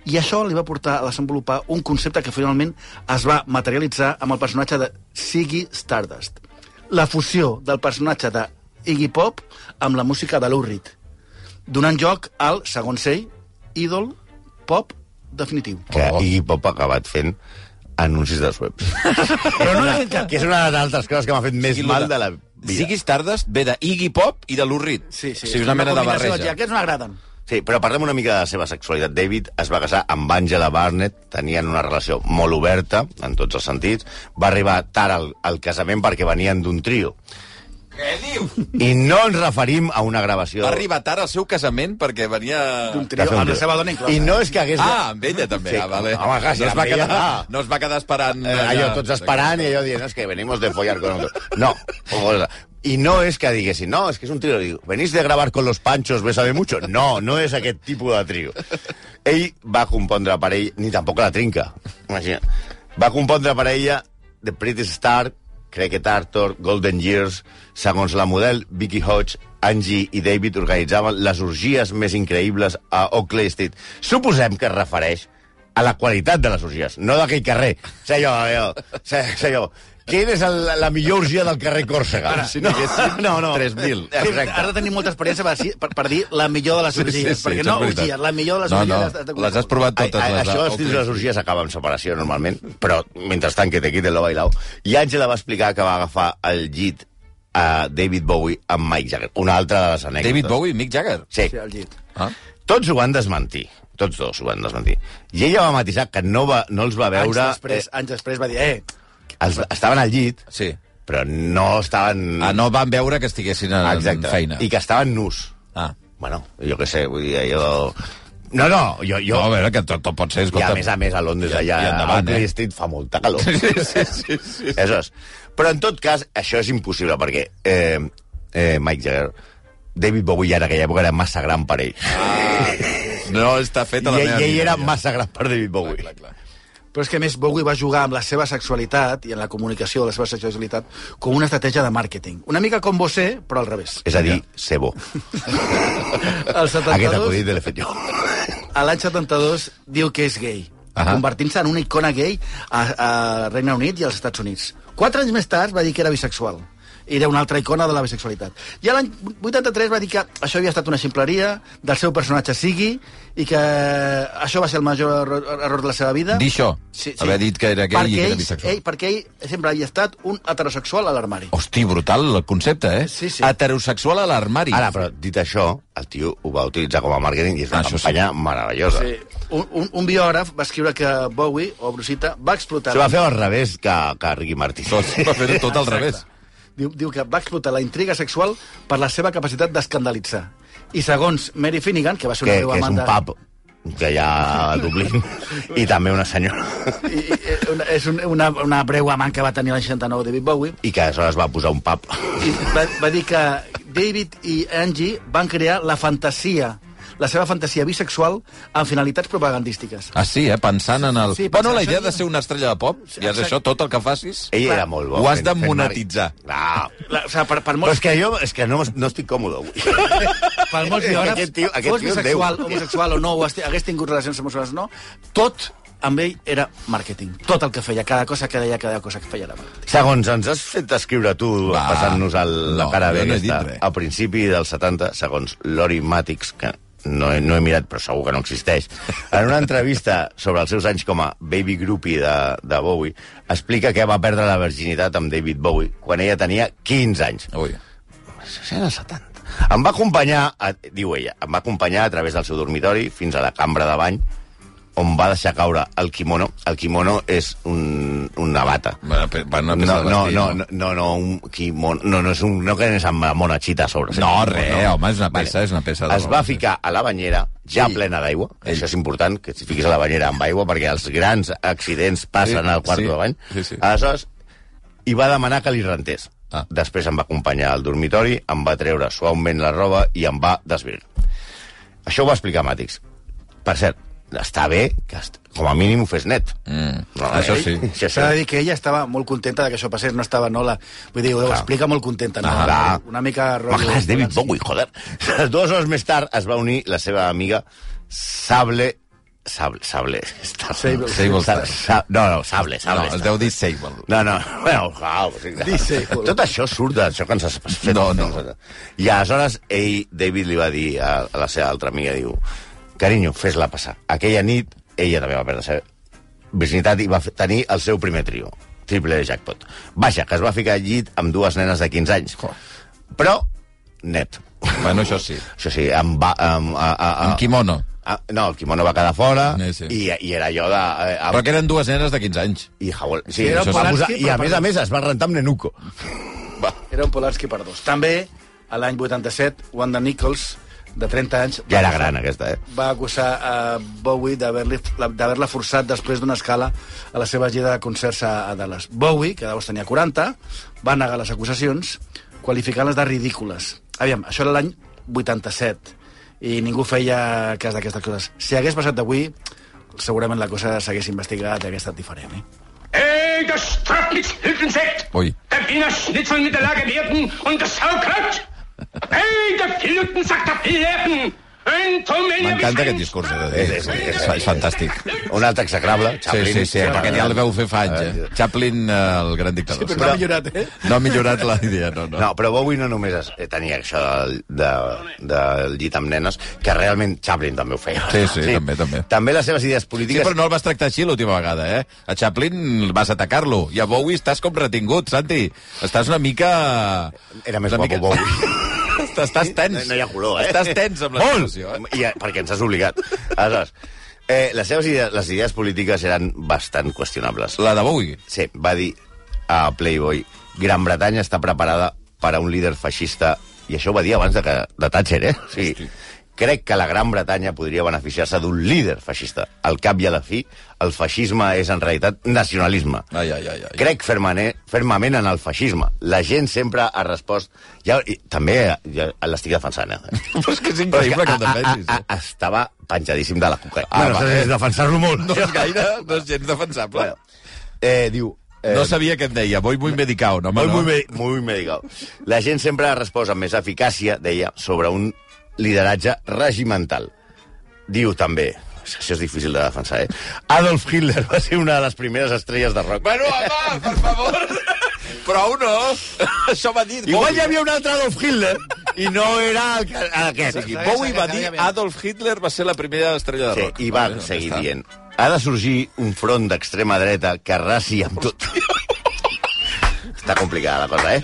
Speaker 4: i això li va portar a desenvolupar un concepte que finalment es va materialitzar amb el personatge de Ziggy Stardust. La fusió del personatge de Iggy Pop amb la música de Lou Reed, donant joc al, segons ell, ídol pop definitiu.
Speaker 3: que
Speaker 2: Oh.
Speaker 3: Iggy Pop ha acabat fent anuncis dels webs.
Speaker 4: Però no l'ha fet cap.
Speaker 3: que és una de les altres coses que m'ha fet més
Speaker 2: Sigui lo
Speaker 3: mal de la vida.
Speaker 2: Siguis tardes, ve de Iggy Pop i de Lou Reed.
Speaker 4: Sí,
Speaker 2: O
Speaker 4: sí.
Speaker 2: sigui, és una mena de
Speaker 4: combinació
Speaker 2: barreja.
Speaker 4: Aquests no agraden.
Speaker 3: Sí, però parlem una mica de la seva sexualitat. David es va casar amb Angela Barnett, tenien una relació molt oberta, en tots els sentits. Va arribar tard al, al casament perquè venien d'un trio.
Speaker 2: Què diu?
Speaker 3: I no ens referim a una gravació...
Speaker 2: Va arribar tard al seu casament perquè venia...
Speaker 4: D'un trio,
Speaker 3: de fer un
Speaker 4: amb la
Speaker 3: trio.
Speaker 4: seva dona inclosa.
Speaker 3: I no és que hagués...
Speaker 2: Ah, amb ella també,
Speaker 3: Sí.
Speaker 2: ah, vale.
Speaker 3: Home, clar, si
Speaker 2: no, es
Speaker 3: amb
Speaker 2: va
Speaker 3: ella,
Speaker 2: quedar,
Speaker 3: clar.
Speaker 2: no es va quedar esperant...
Speaker 3: Eh, allò, tots esperant i allò dient, és que venimos de follar con otro. No, o cosa. I no és que diguessin, no, és que és un trio. Diu, venís de gravar con los panchos, bé sabe mucho. No, no és aquest tipus de trio. Ell va compondre per ell, ni tampoc la trinca, imagina't. Va compondre per ella The Pretty Star, Cricket Arthur, Golden Years, segons la model, Vicky Hodge, Angie i David organitzaven les orgies més increïbles a Oakley Street. Suposem que es refereix a la qualitat de les orgies, no d'aquell carrer. Sé jo, jo, sé, sé jo. Quina és el, la millor orgia del carrer Còrsega?
Speaker 2: Ara, si n'hi
Speaker 3: no, no.
Speaker 2: 3.000.
Speaker 3: Exacte.
Speaker 4: Has de tenir molta experiència per, dir- per, per dir la millor de les orgies. perquè
Speaker 2: això
Speaker 4: no
Speaker 2: és veritat.
Speaker 4: orgies, la millor de les
Speaker 2: no,
Speaker 4: orgies... has de-
Speaker 2: No, les has provat
Speaker 3: Ai,
Speaker 2: totes.
Speaker 3: ai,
Speaker 2: les,
Speaker 3: això dels títols de les orgies acaba amb separació, normalment, però mentrestant que te quiten lo bailao. I Àngela va explicar que va agafar el llit a David Bowie amb Mike Jagger. Una altra de les anècdotes.
Speaker 2: David Bowie i Mick Jagger.
Speaker 3: Sí.
Speaker 4: Sí, al llit.
Speaker 2: Ah.
Speaker 3: Tots ho van desmentir. Tots dos ho van desmentir. I ella va matisar que no, va, no els va
Speaker 4: Anys
Speaker 3: veure...
Speaker 4: després, anys després va dir, eh,
Speaker 3: eh, els, estaven al llit,
Speaker 2: Sí.
Speaker 3: però no estaven...
Speaker 2: Ah, no van veure que estiguessin en, en
Speaker 3: Ah, Exacte.
Speaker 2: feina.
Speaker 3: I que estaven nus.
Speaker 2: Ah.
Speaker 3: Bueno, jo què sé, vull dir, jo... No, no, jo...
Speaker 2: Jo,
Speaker 3: jo...
Speaker 2: no, a veure, que tot, tot pot ser,
Speaker 3: I
Speaker 2: escolta.
Speaker 3: a més a més, a Londres,
Speaker 2: I-
Speaker 3: allà,
Speaker 2: i endavant,
Speaker 3: a
Speaker 2: eh?
Speaker 3: Street, fa molta calor.
Speaker 2: Sí, sí, sí, sí.
Speaker 3: Això és. Però en tot cas, això és impossible, perquè eh, eh, Mike Jagger, David Bowie en aquella època era massa gran per ell.
Speaker 2: No està fet a Ah, tota la
Speaker 3: I,
Speaker 2: meva
Speaker 3: I ell
Speaker 2: vida,
Speaker 3: era
Speaker 2: ja.
Speaker 3: massa gran per David Bowie.
Speaker 2: Clar, clar, clar.
Speaker 4: Però és que, a més, Bowie va jugar amb la seva sexualitat i en la comunicació de la seva sexualitat com una estratègia de màrqueting. Una mica com Bosé, però al revés.
Speaker 3: És a dir, cebo.
Speaker 4: El
Speaker 3: Aquest
Speaker 4: 72,
Speaker 3: acudit l'he fet jo.
Speaker 4: a l'any 72, diu que és gay,
Speaker 2: Ahà.
Speaker 4: convertint-se en una icona gay a, a Regne Unit i als Estats Units. Quatre anys més tard va dir que era bisexual. Era una altra icona de la bisexualitat. I a l'any 83 va dir que això havia estat una ximpleria del seu personatge sigui i que això va ser el major error- error de la seva vida.
Speaker 2: Dir això, haver dit que era gay i que
Speaker 4: Perquè
Speaker 2: era
Speaker 4: ell-
Speaker 2: bisexual.
Speaker 4: Ell, perquè ell sempre havia estat un heterosexual a l'armari.
Speaker 2: Hosti, brutal el concepte, eh?
Speaker 4: Sí, sí.
Speaker 2: Heterosexual a l'armari.
Speaker 3: Ara, però dit això, el tio ho va utilitzar com a màrqueting i és una
Speaker 2: Ah, això sí.
Speaker 3: campanya meravellosa.
Speaker 4: Sí. Un, un, un biògraf va escriure que Bowie, o Brusita, va explotar...
Speaker 3: Se va fer al revés que, que Ricky Martin.
Speaker 2: Tot, va fer tot al
Speaker 4: Exacte.
Speaker 2: revés.
Speaker 4: Diu, diu que va explotar la intriga sexual per la seva capacitat d'escandalitzar. I segons Mary Finnegan, que va ser
Speaker 3: que,
Speaker 4: una
Speaker 3: que
Speaker 4: veu
Speaker 3: és un
Speaker 4: amant...
Speaker 3: pub que hi ha a Dublín i també una senyora
Speaker 4: de- I, i, una, és un, una, una breu amant que va tenir l'any 69 David Bowie.
Speaker 3: i que aleshores va posar un pub
Speaker 4: I va, va dir que David i Angie van crear la fantasia, la seva fantasia bisexual amb finalitats propagandístiques.
Speaker 2: Ah, sí, eh? Pensant en el...
Speaker 4: Sí,
Speaker 2: Sí,
Speaker 4: pensant
Speaker 2: bueno, la idea
Speaker 4: això,
Speaker 2: de ser una estrella de pop,
Speaker 4: Sí,
Speaker 2: ja és
Speaker 4: exacte.
Speaker 2: això, tot el que facis...
Speaker 3: ell
Speaker 4: Clar,
Speaker 3: era molt bo
Speaker 2: ho has
Speaker 3: fent-
Speaker 2: de
Speaker 3: fent
Speaker 2: monetitzar.
Speaker 3: mari- no.
Speaker 4: La, o sigui, per, per
Speaker 3: però
Speaker 4: molts
Speaker 3: és que jo és que no, no estic còmode avui
Speaker 4: per molts biògrafs,
Speaker 3: Aquest tio- aquest
Speaker 4: fos
Speaker 3: tio és
Speaker 4: bisexual,
Speaker 3: Déu.
Speaker 4: homosexual o no, o esti- hagués tingut relacions homosexuals o no, tot amb ell era màrqueting. Tot el que feia, cada cosa que deia, cada cosa que feia era màrqueting.
Speaker 3: segons ens has fet escriure tu
Speaker 2: Va.
Speaker 3: passant-nos el, la
Speaker 2: No,
Speaker 3: cara
Speaker 2: jo
Speaker 3: B
Speaker 2: no he
Speaker 3: aquesta,
Speaker 2: dit res.
Speaker 3: a principi dels 70 segons Lori Matix que no he, no he mirat, però segur que no existeix. En una entrevista sobre els seus anys com a baby groupie de, de Bowie, explica que va perdre la virginitat amb David Bowie quan ella tenia 15 anys.
Speaker 2: Ui.
Speaker 3: Era 70. Em va acompanyar, a, diu ella, em va acompanyar a través del seu dormitori fins a la cambra de bany, on va deixar caure el kimono. El kimono és un, una bata.
Speaker 2: Bueno, pe- bueno,
Speaker 3: No,
Speaker 2: peça de
Speaker 3: no,
Speaker 2: vestir,
Speaker 3: no, no, no, no, un kimono, no, no, és un, no que és amb la monachita a sobre.
Speaker 2: No, res, home, és una peça, és una peça de
Speaker 3: Es va
Speaker 2: roba, sí.
Speaker 3: ficar a la banyera, ja
Speaker 2: Ell.
Speaker 3: plena d'aigua,
Speaker 2: Ell.
Speaker 3: això és important, que si fiquis a la banyera amb aigua, perquè els grans accidents passen
Speaker 2: Sí,
Speaker 3: al quarto
Speaker 2: sí,
Speaker 3: de bany.
Speaker 2: sí, sí.
Speaker 3: Aleshores, i va demanar que li rentés.
Speaker 2: Ah.
Speaker 3: Ah. Després em va acompanyar al dormitori, em va treure suaument la roba i em va desvirar. Això ho va explicar Màtix. Per cert, està bé que est- com a mínim ho fes net.
Speaker 2: Mm, això sí.
Speaker 3: sí,
Speaker 4: S'ha de dir que ella estava molt contenta de que això passés, no estava nola. Vull dir, ho
Speaker 3: Clar.
Speaker 4: explica molt contenta. No?
Speaker 2: Ah,
Speaker 3: clar.
Speaker 4: una mica...
Speaker 3: Ma, clar, és David
Speaker 4: rotllo-
Speaker 3: Bowie, joder. Dues hores més tard es va unir la seva amiga Sable... Sable... Sable... Star.
Speaker 4: Sable-
Speaker 2: Sable Star.
Speaker 3: Sa- No, no, Sable, Sable.
Speaker 2: No, es
Speaker 3: Star.
Speaker 2: deu dir Sable.
Speaker 3: No, no, bueno,
Speaker 2: Ah,
Speaker 3: clar, o sigui,
Speaker 4: Disable.
Speaker 3: tot això surt d'això que ens has fet.
Speaker 2: No, no.
Speaker 3: I aleshores ell, David, li va dir a a la seva altra amiga, diu, carinyo, fes-la passar. Aquella nit, ella també va perdre la seva Virginitat i va fer- tenir el seu primer trio, triple jackpot. Baixa, que es va ficar al llit amb dues nenes de 15 anys. Però, net.
Speaker 2: Bueno, això sí.
Speaker 3: Això sí, amb... Ba, amb, a, a, a,
Speaker 2: Amb kimono.
Speaker 3: A, no, el kimono va quedar fora
Speaker 2: Sí, sí.
Speaker 3: i, i era allò de... Eh, amb-
Speaker 2: Ah, Però que eren dues nenes de 15 anys.
Speaker 3: I, Howell, sí,
Speaker 4: Era
Speaker 3: això es va
Speaker 4: Polanski,
Speaker 3: posar, I a
Speaker 4: però
Speaker 3: més a
Speaker 4: perdó.
Speaker 3: més es va rentar amb Nenuco.
Speaker 4: Era un Polanski per dos. També, a l'any 87, Wanda Nichols, de 30 anys...
Speaker 3: Ja era gran, aquesta, eh?
Speaker 4: va acusar a Bowie d'haver-li- d'haver-la forçat després d'una escala a la seva gira de concerts a a Dallas. Bowie, que llavors tenia 40, va negar les acusacions, qualificant-les de ridícules. Aviam, això era l'any 87, i ningú feia cas d'aquestes coses. Si hagués passat d'avui, segurament la cosa s'hagués investigat i hagués estat diferent. Eh?
Speaker 6: Ey, Äh, das Straflichthilfensekt!
Speaker 2: Ui.
Speaker 6: Der Wiener Schnitzel mit der Lagerierten und das Sauerkraut! Ey, der Filuten sagt der Fileten! Ein Tomel,
Speaker 2: M'encanta aquest discurs, he de dir.
Speaker 3: És- és-
Speaker 2: És, és fantàstic.
Speaker 3: Un altre execrable,
Speaker 2: Sí,
Speaker 3: Chaplin. Ah,
Speaker 2: sí, sí, aquest ja el veu fer fa anys, eh? Chaplin, eh, el gran dictador. Sí,
Speaker 4: Però ha millorat, eh?
Speaker 2: No ha millorat la idea, no, no.
Speaker 3: No, però Bowie no només es, eh, tenia això del, de, del llit amb nenes, que realment Chaplin també ho feia.
Speaker 2: Sí, sí, també, també.
Speaker 3: També les seves idees
Speaker 2: Sí,
Speaker 3: polítiques...
Speaker 2: però no el vas tractar així l'última vegada, eh? A Chaplin vas atacar-lo, i a Bowie estàs com retingut, Santi. Estàs una mica...
Speaker 3: Era més
Speaker 2: una
Speaker 3: guapo Bowie.
Speaker 2: Estàs tens.
Speaker 3: No, no hi ha color, eh?
Speaker 2: Estàs tens amb la
Speaker 3: Molt!
Speaker 2: situació, eh?
Speaker 3: I, eh, perquè ens has obligat. Aleshores, eh, les seves idees, les idees polítiques eren bastant qüestionables.
Speaker 2: La de Bowie.
Speaker 3: Sí, va dir a Playboy Gran Bretanya està preparada per a un líder feixista i això ho va dir abans de, que, de Thatcher, eh? O sigui, crec que la Gran Bretanya podria beneficiar-se d'un líder feixista. Al cap i a la fi, el feixisme és en realitat nacionalisme.
Speaker 2: Ai, ai, ai. ai.
Speaker 3: Crec fermane- fermament en el feixisme. La gent sempre ha respost... Ja, i, també ja, l'estic defensant, eh?
Speaker 2: Però és que és increïble que el defensis,
Speaker 3: a,
Speaker 2: eh?
Speaker 3: a, a, estava penjadíssim de la cuca.
Speaker 2: Ah, va.
Speaker 3: defensar-lo molt.
Speaker 2: No és gaire, no és gens defensable.
Speaker 3: Bueno, eh, diu... Eh,
Speaker 2: No sabia què em deia, voy muy medicao, no, home,
Speaker 3: Muy,
Speaker 2: no.
Speaker 3: muy, me- muy medical. La gent sempre resposa amb més eficàcia, deia, sobre un lideratge regimental. Diu també, és que això és difícil de defensar, eh? Adolf Hitler va ser una de les primeres estrelles de rock.
Speaker 2: Bueno, home, per favor. Prou, no? Això m'ha dit
Speaker 3: Igual hi
Speaker 2: Bowie.
Speaker 3: havia un altre Adolf Hitler i no era el, que- aquest.
Speaker 2: I Bowie va dir Adolf Hitler va ser la primera estrella de
Speaker 3: Sí,
Speaker 2: rock.
Speaker 3: I va
Speaker 2: Vale, doncs
Speaker 3: seguir
Speaker 2: ja està.
Speaker 3: dient. Ha de sorgir un front d'extrema dreta que raci amb tot. Està complicada la cosa, eh?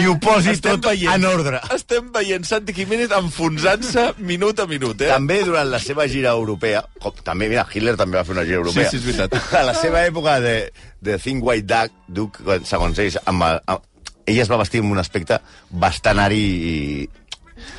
Speaker 3: I ho posi
Speaker 2: Estem
Speaker 3: tot
Speaker 2: veient.
Speaker 3: en ordre.
Speaker 2: Estem veient Santi Jiménez enfonsant-se minut a minut, eh?
Speaker 3: També durant la seva gira europea, com, també, mira, Hitler també va fer una gira europea.
Speaker 2: sí, és veritat.
Speaker 3: A la seva època de, de Think White Duck, Duke, quan- segons ells, amb el, amb, ell es va vestir amb un aspecte bastant ari i...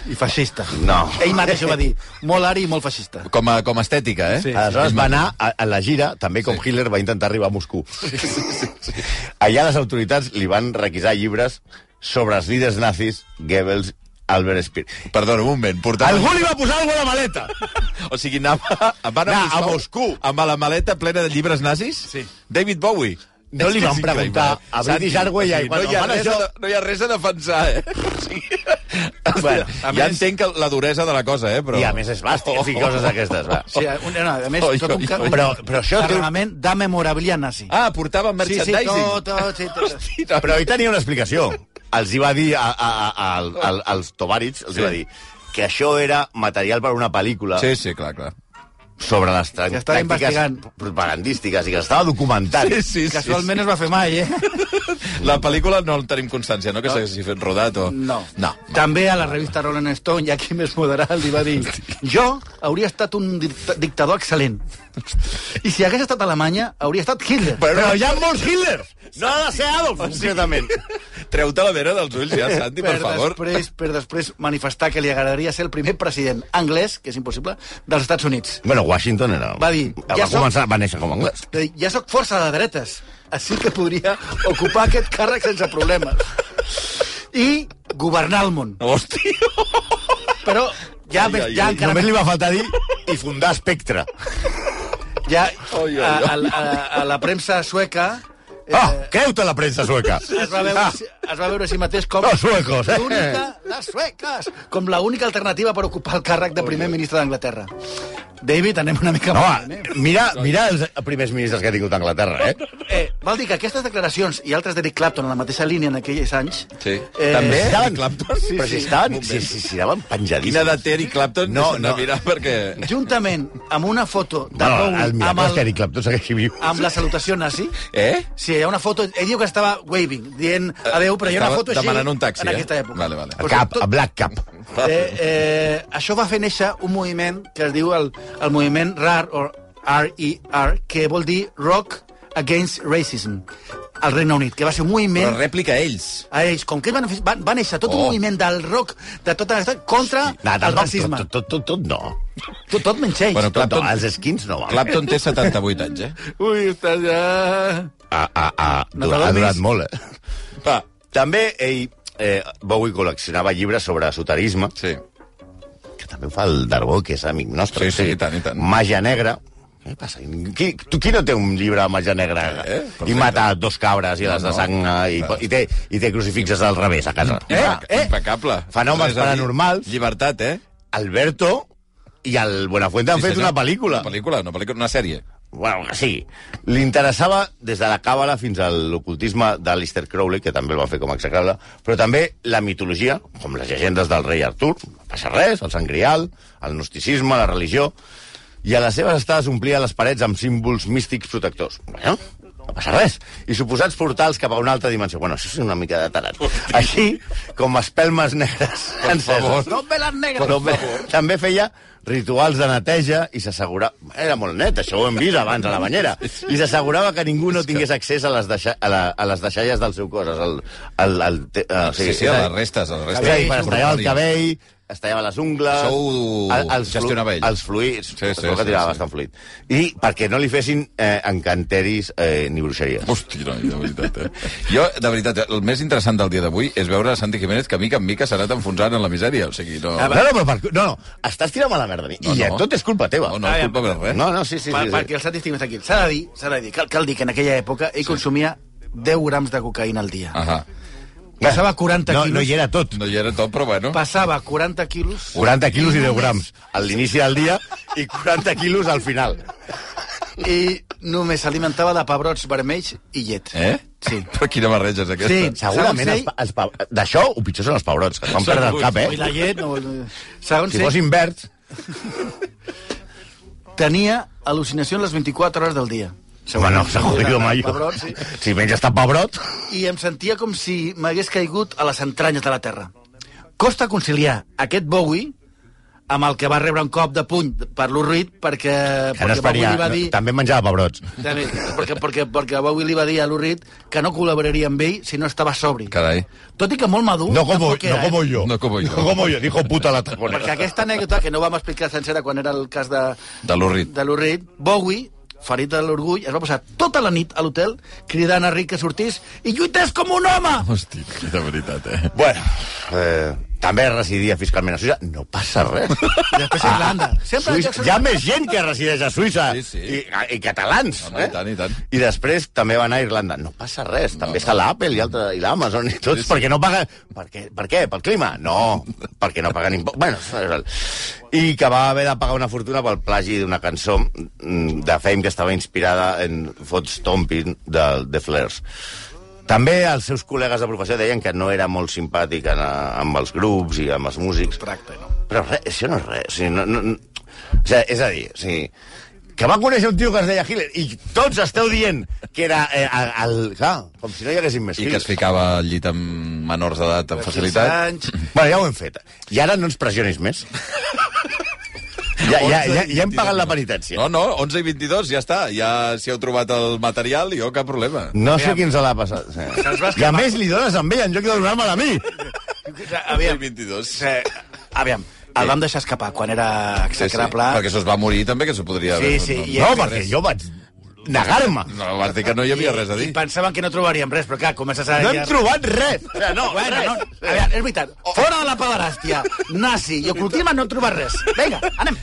Speaker 4: I feixista.
Speaker 3: No.
Speaker 4: Ell mateix ho va dir. Molt ari i molt feixista.
Speaker 2: Com a, com a estètica, eh?
Speaker 4: Sí.
Speaker 3: Aleshores va anar a, a la gira, també com sí. Hitler va intentar arribar a Moscou. Sí, sí, sí. Allà les autoritats li van requisar llibres sobre els líders nazis, Goebbels, Albert Speer.
Speaker 2: Perdona, un moment. Portava...
Speaker 3: Algú li va posar alguna a la maleta!
Speaker 2: O sigui, anava, va anar
Speaker 3: Anar a Moscou.
Speaker 2: amb la maleta plena de llibres nazis?
Speaker 4: Sí.
Speaker 2: David Bowie?
Speaker 3: No
Speaker 2: És
Speaker 3: li
Speaker 2: que
Speaker 3: van
Speaker 2: és increïble.
Speaker 3: preguntar a
Speaker 2: Santi,
Speaker 3: British Airways,
Speaker 2: o sigui,
Speaker 3: i quan
Speaker 2: no, hi ha
Speaker 3: fan
Speaker 2: res
Speaker 3: això-
Speaker 2: a, no hi ha res a defensar, eh? O sigui,
Speaker 3: Bueno,
Speaker 2: bueno,
Speaker 3: a
Speaker 2: ja
Speaker 3: més-
Speaker 2: entenc que la duresa de la cosa, eh? Però...
Speaker 3: I a més és bàstic, i coses d'aquestes, va.
Speaker 4: Sí, eh, un, no, a més,
Speaker 2: Oi,
Speaker 4: tot
Speaker 2: oi,
Speaker 4: un, ca-
Speaker 2: oi.
Speaker 4: un
Speaker 3: Però, però això té un...
Speaker 4: carregament de memorabilia nazi.
Speaker 2: Ah, portava
Speaker 4: sí, sí,
Speaker 2: merchandising.
Speaker 4: tot, tot, sí, tot.
Speaker 2: Mira,
Speaker 3: Però ell tenia una explicació. Els hi va dir a, a, a, a, als Tovarits, els sí. hi va dir que això era material per a una pel·lícula
Speaker 2: Sí, sí, clar, clar.
Speaker 3: sobre les tra-
Speaker 4: Que estava investigant.
Speaker 3: tàctiques propagandístiques i que estava documentant.
Speaker 2: Sí, sí, sí,
Speaker 4: Casualment es va fer mai, eh?
Speaker 2: sí. La pel·lícula no en tenim constància, no? Que s'hagués fet rodat o...
Speaker 4: No.
Speaker 2: No.
Speaker 4: També a la revista Rolling Stone, ja qui més moderat li va dir jo hauria estat un dict- dictador excel·lent. I si hagués estat a Alemanya, hauria estat Hitler.
Speaker 3: Però, però hi ha molts Hitlers! No ha de ser Adolf, concretament.
Speaker 2: Treu-te la vena dels ulls ja, Santi, per, favor.
Speaker 4: Després, per després manifestar que li agradaria ser el primer president anglès, que és impossible, dels Estats Units.
Speaker 3: Bueno, Washington era...
Speaker 4: Va dir,
Speaker 3: Va,
Speaker 4: ja
Speaker 3: ja
Speaker 4: som-
Speaker 3: començar, va néixer com a anglès.
Speaker 4: Va dir, Ja sóc força de dretes, així que podria ocupar aquest càrrec sense problemes. I governar el món.
Speaker 2: Hòstia,
Speaker 4: Però ja,
Speaker 2: Ai,
Speaker 4: més,
Speaker 2: ai,
Speaker 4: ja
Speaker 2: ai.
Speaker 4: encara
Speaker 3: Només li va faltar dir i fundar Espectre.
Speaker 4: ja
Speaker 2: Oi, oi, oi.
Speaker 4: a, a, a, a la premsa sueca
Speaker 3: Ah, creu-te la premsa sueca! Ah.
Speaker 4: es va veure, si- es va veure a si
Speaker 2: Ah,
Speaker 4: mateix com
Speaker 3: Los suecos, eh?
Speaker 4: l'única, les sueques, com l'única alternativa per ocupar el càrrec de primer ministre d'Anglaterra. David, anem una mica...
Speaker 3: No,
Speaker 4: malament,
Speaker 3: home, mira, mira els primers ministres que ha tingut Anglaterra, eh?
Speaker 4: Eh, val dir que aquestes declaracions i altres d'Eric Clapton en la mateixa línia en aquells anys...
Speaker 2: Sí.
Speaker 4: Eh,
Speaker 2: També?
Speaker 3: Estaven-
Speaker 2: Eric Clapton?
Speaker 3: Sí, Però si estaven, sí, sí, sí, anaven
Speaker 2: Quina
Speaker 3: penjadíssims.
Speaker 2: edat té Eric Clapton?
Speaker 3: No,
Speaker 2: No, no,
Speaker 3: no.
Speaker 2: mirar perquè...
Speaker 4: Juntament amb una foto de
Speaker 3: Bueno,
Speaker 4: Bowie
Speaker 3: el
Speaker 4: amb,
Speaker 3: miracle és que
Speaker 4: el,
Speaker 3: Eric Clapton segueixi viu.
Speaker 4: amb la salutació nazi...
Speaker 2: Eh?
Speaker 4: Sí, hi ha una foto... Ell diu que estava waving, dient adeu, però hi ha una
Speaker 2: Estava
Speaker 4: foto així...
Speaker 2: demanant un taxi,
Speaker 4: en
Speaker 2: eh?
Speaker 4: aquesta època.
Speaker 2: Vale, vale.
Speaker 3: A cap, a Black Cap.
Speaker 4: Eh, eh, això va fer néixer un moviment que es diu el, el moviment RAR, o R-E-R, que vol dir Rock Against Racism, al Regne Unit, que va ser un moviment...
Speaker 2: Però rèplica a ells.
Speaker 4: a ells, com que ells van, van, va néixer tot oh.
Speaker 2: Oh.
Speaker 4: un moviment del rock de tota l'estat contra
Speaker 3: No,
Speaker 4: el
Speaker 3: tampoc,
Speaker 4: racisme.
Speaker 3: Tot, tot, tot, tot no.
Speaker 4: Tot, tot menys ells.
Speaker 2: Bueno,
Speaker 4: Bueno,
Speaker 3: Tot,
Speaker 2: Clapton-
Speaker 3: no. Els skins no, home.
Speaker 2: Clapton té 78 anys, eh?
Speaker 4: Ui, està ja...
Speaker 3: Ah, ah, ah,
Speaker 4: No
Speaker 3: dura- ha
Speaker 4: t'adonis?
Speaker 3: durat molt, eh?
Speaker 2: Va,
Speaker 3: També ell, eh, Bowie col·leccionava llibres sobre esoterisme,
Speaker 2: sí.
Speaker 3: que també ho fa el Darbó, que és amic nostre.
Speaker 2: Sí, sí, i tant, i tant.
Speaker 3: Màgia negra. Què passa? Qui, tu, qui no té un llibre de màgia negra
Speaker 2: Eh,
Speaker 3: eh?
Speaker 2: perfecte.
Speaker 3: i mata dos cabres i les
Speaker 2: No, no.
Speaker 3: desagna i,
Speaker 2: Clar.
Speaker 3: i, té, i té crucifixes al revés a casa?
Speaker 2: Eh? Impecable.
Speaker 3: Fenòmens
Speaker 2: Res a dir.
Speaker 3: paranormals.
Speaker 2: Llibertat, eh?
Speaker 3: Alberto i el Buenafuente han
Speaker 2: Sí,
Speaker 3: fet
Speaker 2: senyor.
Speaker 3: una pel·lícula.
Speaker 2: Una pel·lícula, una pel·lícula, una sèrie.
Speaker 3: Bueno, sí. Li interessava des de la càbala fins a l'ocultisme d'Alistair Crowley, que també el va fer com a execrable, però també la mitologia, com les llegendes del rei Artur, no passa res, el sangrial, el gnosticisme, la religió, i a les seves estades omplia les parets amb símbols místics protectors. Bueno, no passa res. I suposats portals cap a una altra dimensió. Bueno, això és una mica de tarat. Així com espelmes negres enceses.
Speaker 4: No veles negres.
Speaker 3: Però bé, també feia rituals de neteja i s'assegurava... Era molt net, això ho hem vist abans a la banyera. I s'assegurava que ningú no tingués accés a les, deixa, a la, a les deixalles del seu cos. Al, al, al, te- a- o
Speaker 2: Sí,
Speaker 3: sigui,
Speaker 2: sí, a les restes, a les
Speaker 3: És
Speaker 2: restes.
Speaker 3: a dir, per estallar el cabell, es tallava les ungles...
Speaker 2: Això ho
Speaker 3: el- els flu-
Speaker 2: gestionava ell.
Speaker 3: Els fluids,
Speaker 2: Sí,
Speaker 3: sí,
Speaker 2: sí,
Speaker 3: sí, que
Speaker 2: sí,
Speaker 3: tirava
Speaker 2: sí.
Speaker 3: sí, bastant fluid. I perquè no li fessin eh, encanteris eh, ni bruixeries.
Speaker 2: Hòstia, noi, de veritat, eh? Jo, de veritat, el més interessant del dia d'avui és veure Santi Jiménez que mica en mica s'ha anat enfonsant en la misèria, o sigui, no...
Speaker 3: Ah, No, no, però per, no, no, estàs tirant a la merda a mi.
Speaker 2: No,
Speaker 3: I
Speaker 2: no.
Speaker 3: tot és culpa teva. Ah,
Speaker 2: No, no, és culpa eh? de res.
Speaker 3: no, no sí, sí.
Speaker 4: eh? Per,
Speaker 3: sí, sí.
Speaker 4: perquè els satis tinguin aquí. S'ha de dir, s'ha de dir, cal, cal dir que en aquella època ell sí. consumia 10 grams de cocaïna al dia. Ah.
Speaker 2: Ahà.
Speaker 4: Passava 40
Speaker 3: no,
Speaker 4: quilos.
Speaker 3: no hi era tot.
Speaker 2: No hi era tot, però bueno.
Speaker 4: Passava 40 quilos.
Speaker 3: 40 quilos i 10 grams a l'inici del dia i 40 quilos al final.
Speaker 4: i només s'alimentava de pebrots vermells i llet.
Speaker 2: Eh?
Speaker 4: Sí.
Speaker 2: Però quina barreja és aquesta?
Speaker 4: Sí.
Speaker 3: Segurament els,
Speaker 4: Segons
Speaker 3: pa- els pa- d'això ho pitjor són els pebrots, que es van
Speaker 2: Segur.
Speaker 3: perdre el cap,
Speaker 4: I
Speaker 3: eh?
Speaker 4: la llet no vol... Segons
Speaker 3: Si
Speaker 4: si
Speaker 3: fossin verds...
Speaker 4: tenia al·lucinació en les 24 hores del dia.
Speaker 3: Bueno, segur que jo mai...
Speaker 4: Pebrot, sí.
Speaker 3: Si menges tant pebrot...
Speaker 4: I em sentia com si m'hagués caigut a les entranyes de la terra. Costa conciliar aquest Bowie amb el que va rebre un cop de puny per Lou Reed perquè,
Speaker 3: Que no
Speaker 4: perquè
Speaker 3: es faria,
Speaker 4: Bowie li va dir...
Speaker 3: També menjava pebrots.
Speaker 4: També, perquè, perquè, perquè Bowie li va dir a Lou Reed que no col·laboraria amb ell si no estava sobri.
Speaker 2: Carai.
Speaker 4: Tot i que molt madur...
Speaker 3: No como,
Speaker 4: tampoc era,
Speaker 3: no como
Speaker 4: eh?
Speaker 3: yo.
Speaker 2: No como yo.
Speaker 3: No como yo, dijo puta la taconera.
Speaker 4: Perquè aquesta anècdota, que no vam explicar sencera quan era el cas de,
Speaker 2: De l'Urrit.
Speaker 4: de l'Urrit, Bowie, ferit de l'orgull, es va posar tota la nit a l'hotel cridant a Rick que sortís i lluités com un home!
Speaker 2: Hosti, de veritat, eh?
Speaker 3: Bueno, eh, també residia fiscalment a Suïssa. No passa res. Ah,
Speaker 4: I després a Irlanda. Sempre
Speaker 3: Suïssa,
Speaker 4: Suïssa,
Speaker 3: hi ha més gent que resideix a Suïssa.
Speaker 2: Sí, sí.
Speaker 3: I, ah, I catalans. eh?
Speaker 2: Home, i tant, i tant.
Speaker 3: I després també va anar a Irlanda. No passa res. També està l'Apple i, altre- i l'Amazon i tots. Perquè no paguen... Per què? Per què? Pel clima? No, perquè no paguen impostos. Bueno, és el- i que va haver de pagar una fortuna pel plagi d'una cançó mm, de Fame que estava inspirada en Foot Stomping de, de Flares. També els seus col·legues de professió deien que no era molt simpàtic en, amb els grups i amb els músics. Tracte, no. Però res, això no és res. O sigui, no, no, no- o sigui, és a dir, o sigui, que va conèixer un tio que es deia Hitler i tots esteu dient que era eh, el, el, clar, com si no hi haguessin més
Speaker 2: I que es
Speaker 3: fills.
Speaker 2: ficava al llit amb menors d'edat amb facilitat.
Speaker 4: Anys,
Speaker 3: Bueno, ja ho hem fet. I ara no ens pressionis més. ja, ja, ja, ja hem pagat la penitència.
Speaker 2: No, no, 11 i 22, ja està. Ja s'hi heu trobat el material i jo cap problema.
Speaker 3: No sé qui ens l'ha passat. I a més li dones amb ell en lloc de donar-me'l a mi.
Speaker 2: Aviam.
Speaker 4: Eh, aviam,
Speaker 2: 22. Sí,
Speaker 4: eh, aviam, el vam deixar escapar quan era
Speaker 2: sí.
Speaker 4: execrable.
Speaker 2: Perquè això es va morir també, que s'ho podria...
Speaker 4: Sí,
Speaker 2: haver-
Speaker 4: sí, i-
Speaker 3: No, perquè jo vaig negar-me.
Speaker 2: No, no, vas dir que no hi havia res a dir.
Speaker 4: I pensaven que no trobaríem res, però clar, comences a...
Speaker 3: No hem trobat res. O sigui,
Speaker 2: Eh,
Speaker 3: No,
Speaker 4: Bueno, no,
Speaker 3: res.
Speaker 4: a veure, és veritat. Fora de la pederàstia, nazi i ocultisme no trobar res. Vinga, anem.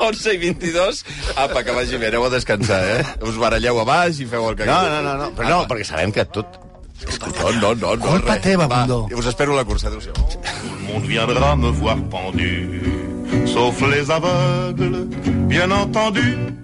Speaker 2: 11 i 22. Apa, que vagi bé, aneu a descansar, eh? Us baralleu a baix i feu el que...
Speaker 3: No, no, no, no. Però Ah, no, perquè sabem que tot...
Speaker 2: No, no, no. no
Speaker 4: Culpa
Speaker 2: res.
Speaker 4: teva,
Speaker 2: Va,
Speaker 4: Bundó.
Speaker 2: Us espero a la cursa, adéu-siau.
Speaker 1: On viendra me voir pendu sauf les aveugles, bien entendu.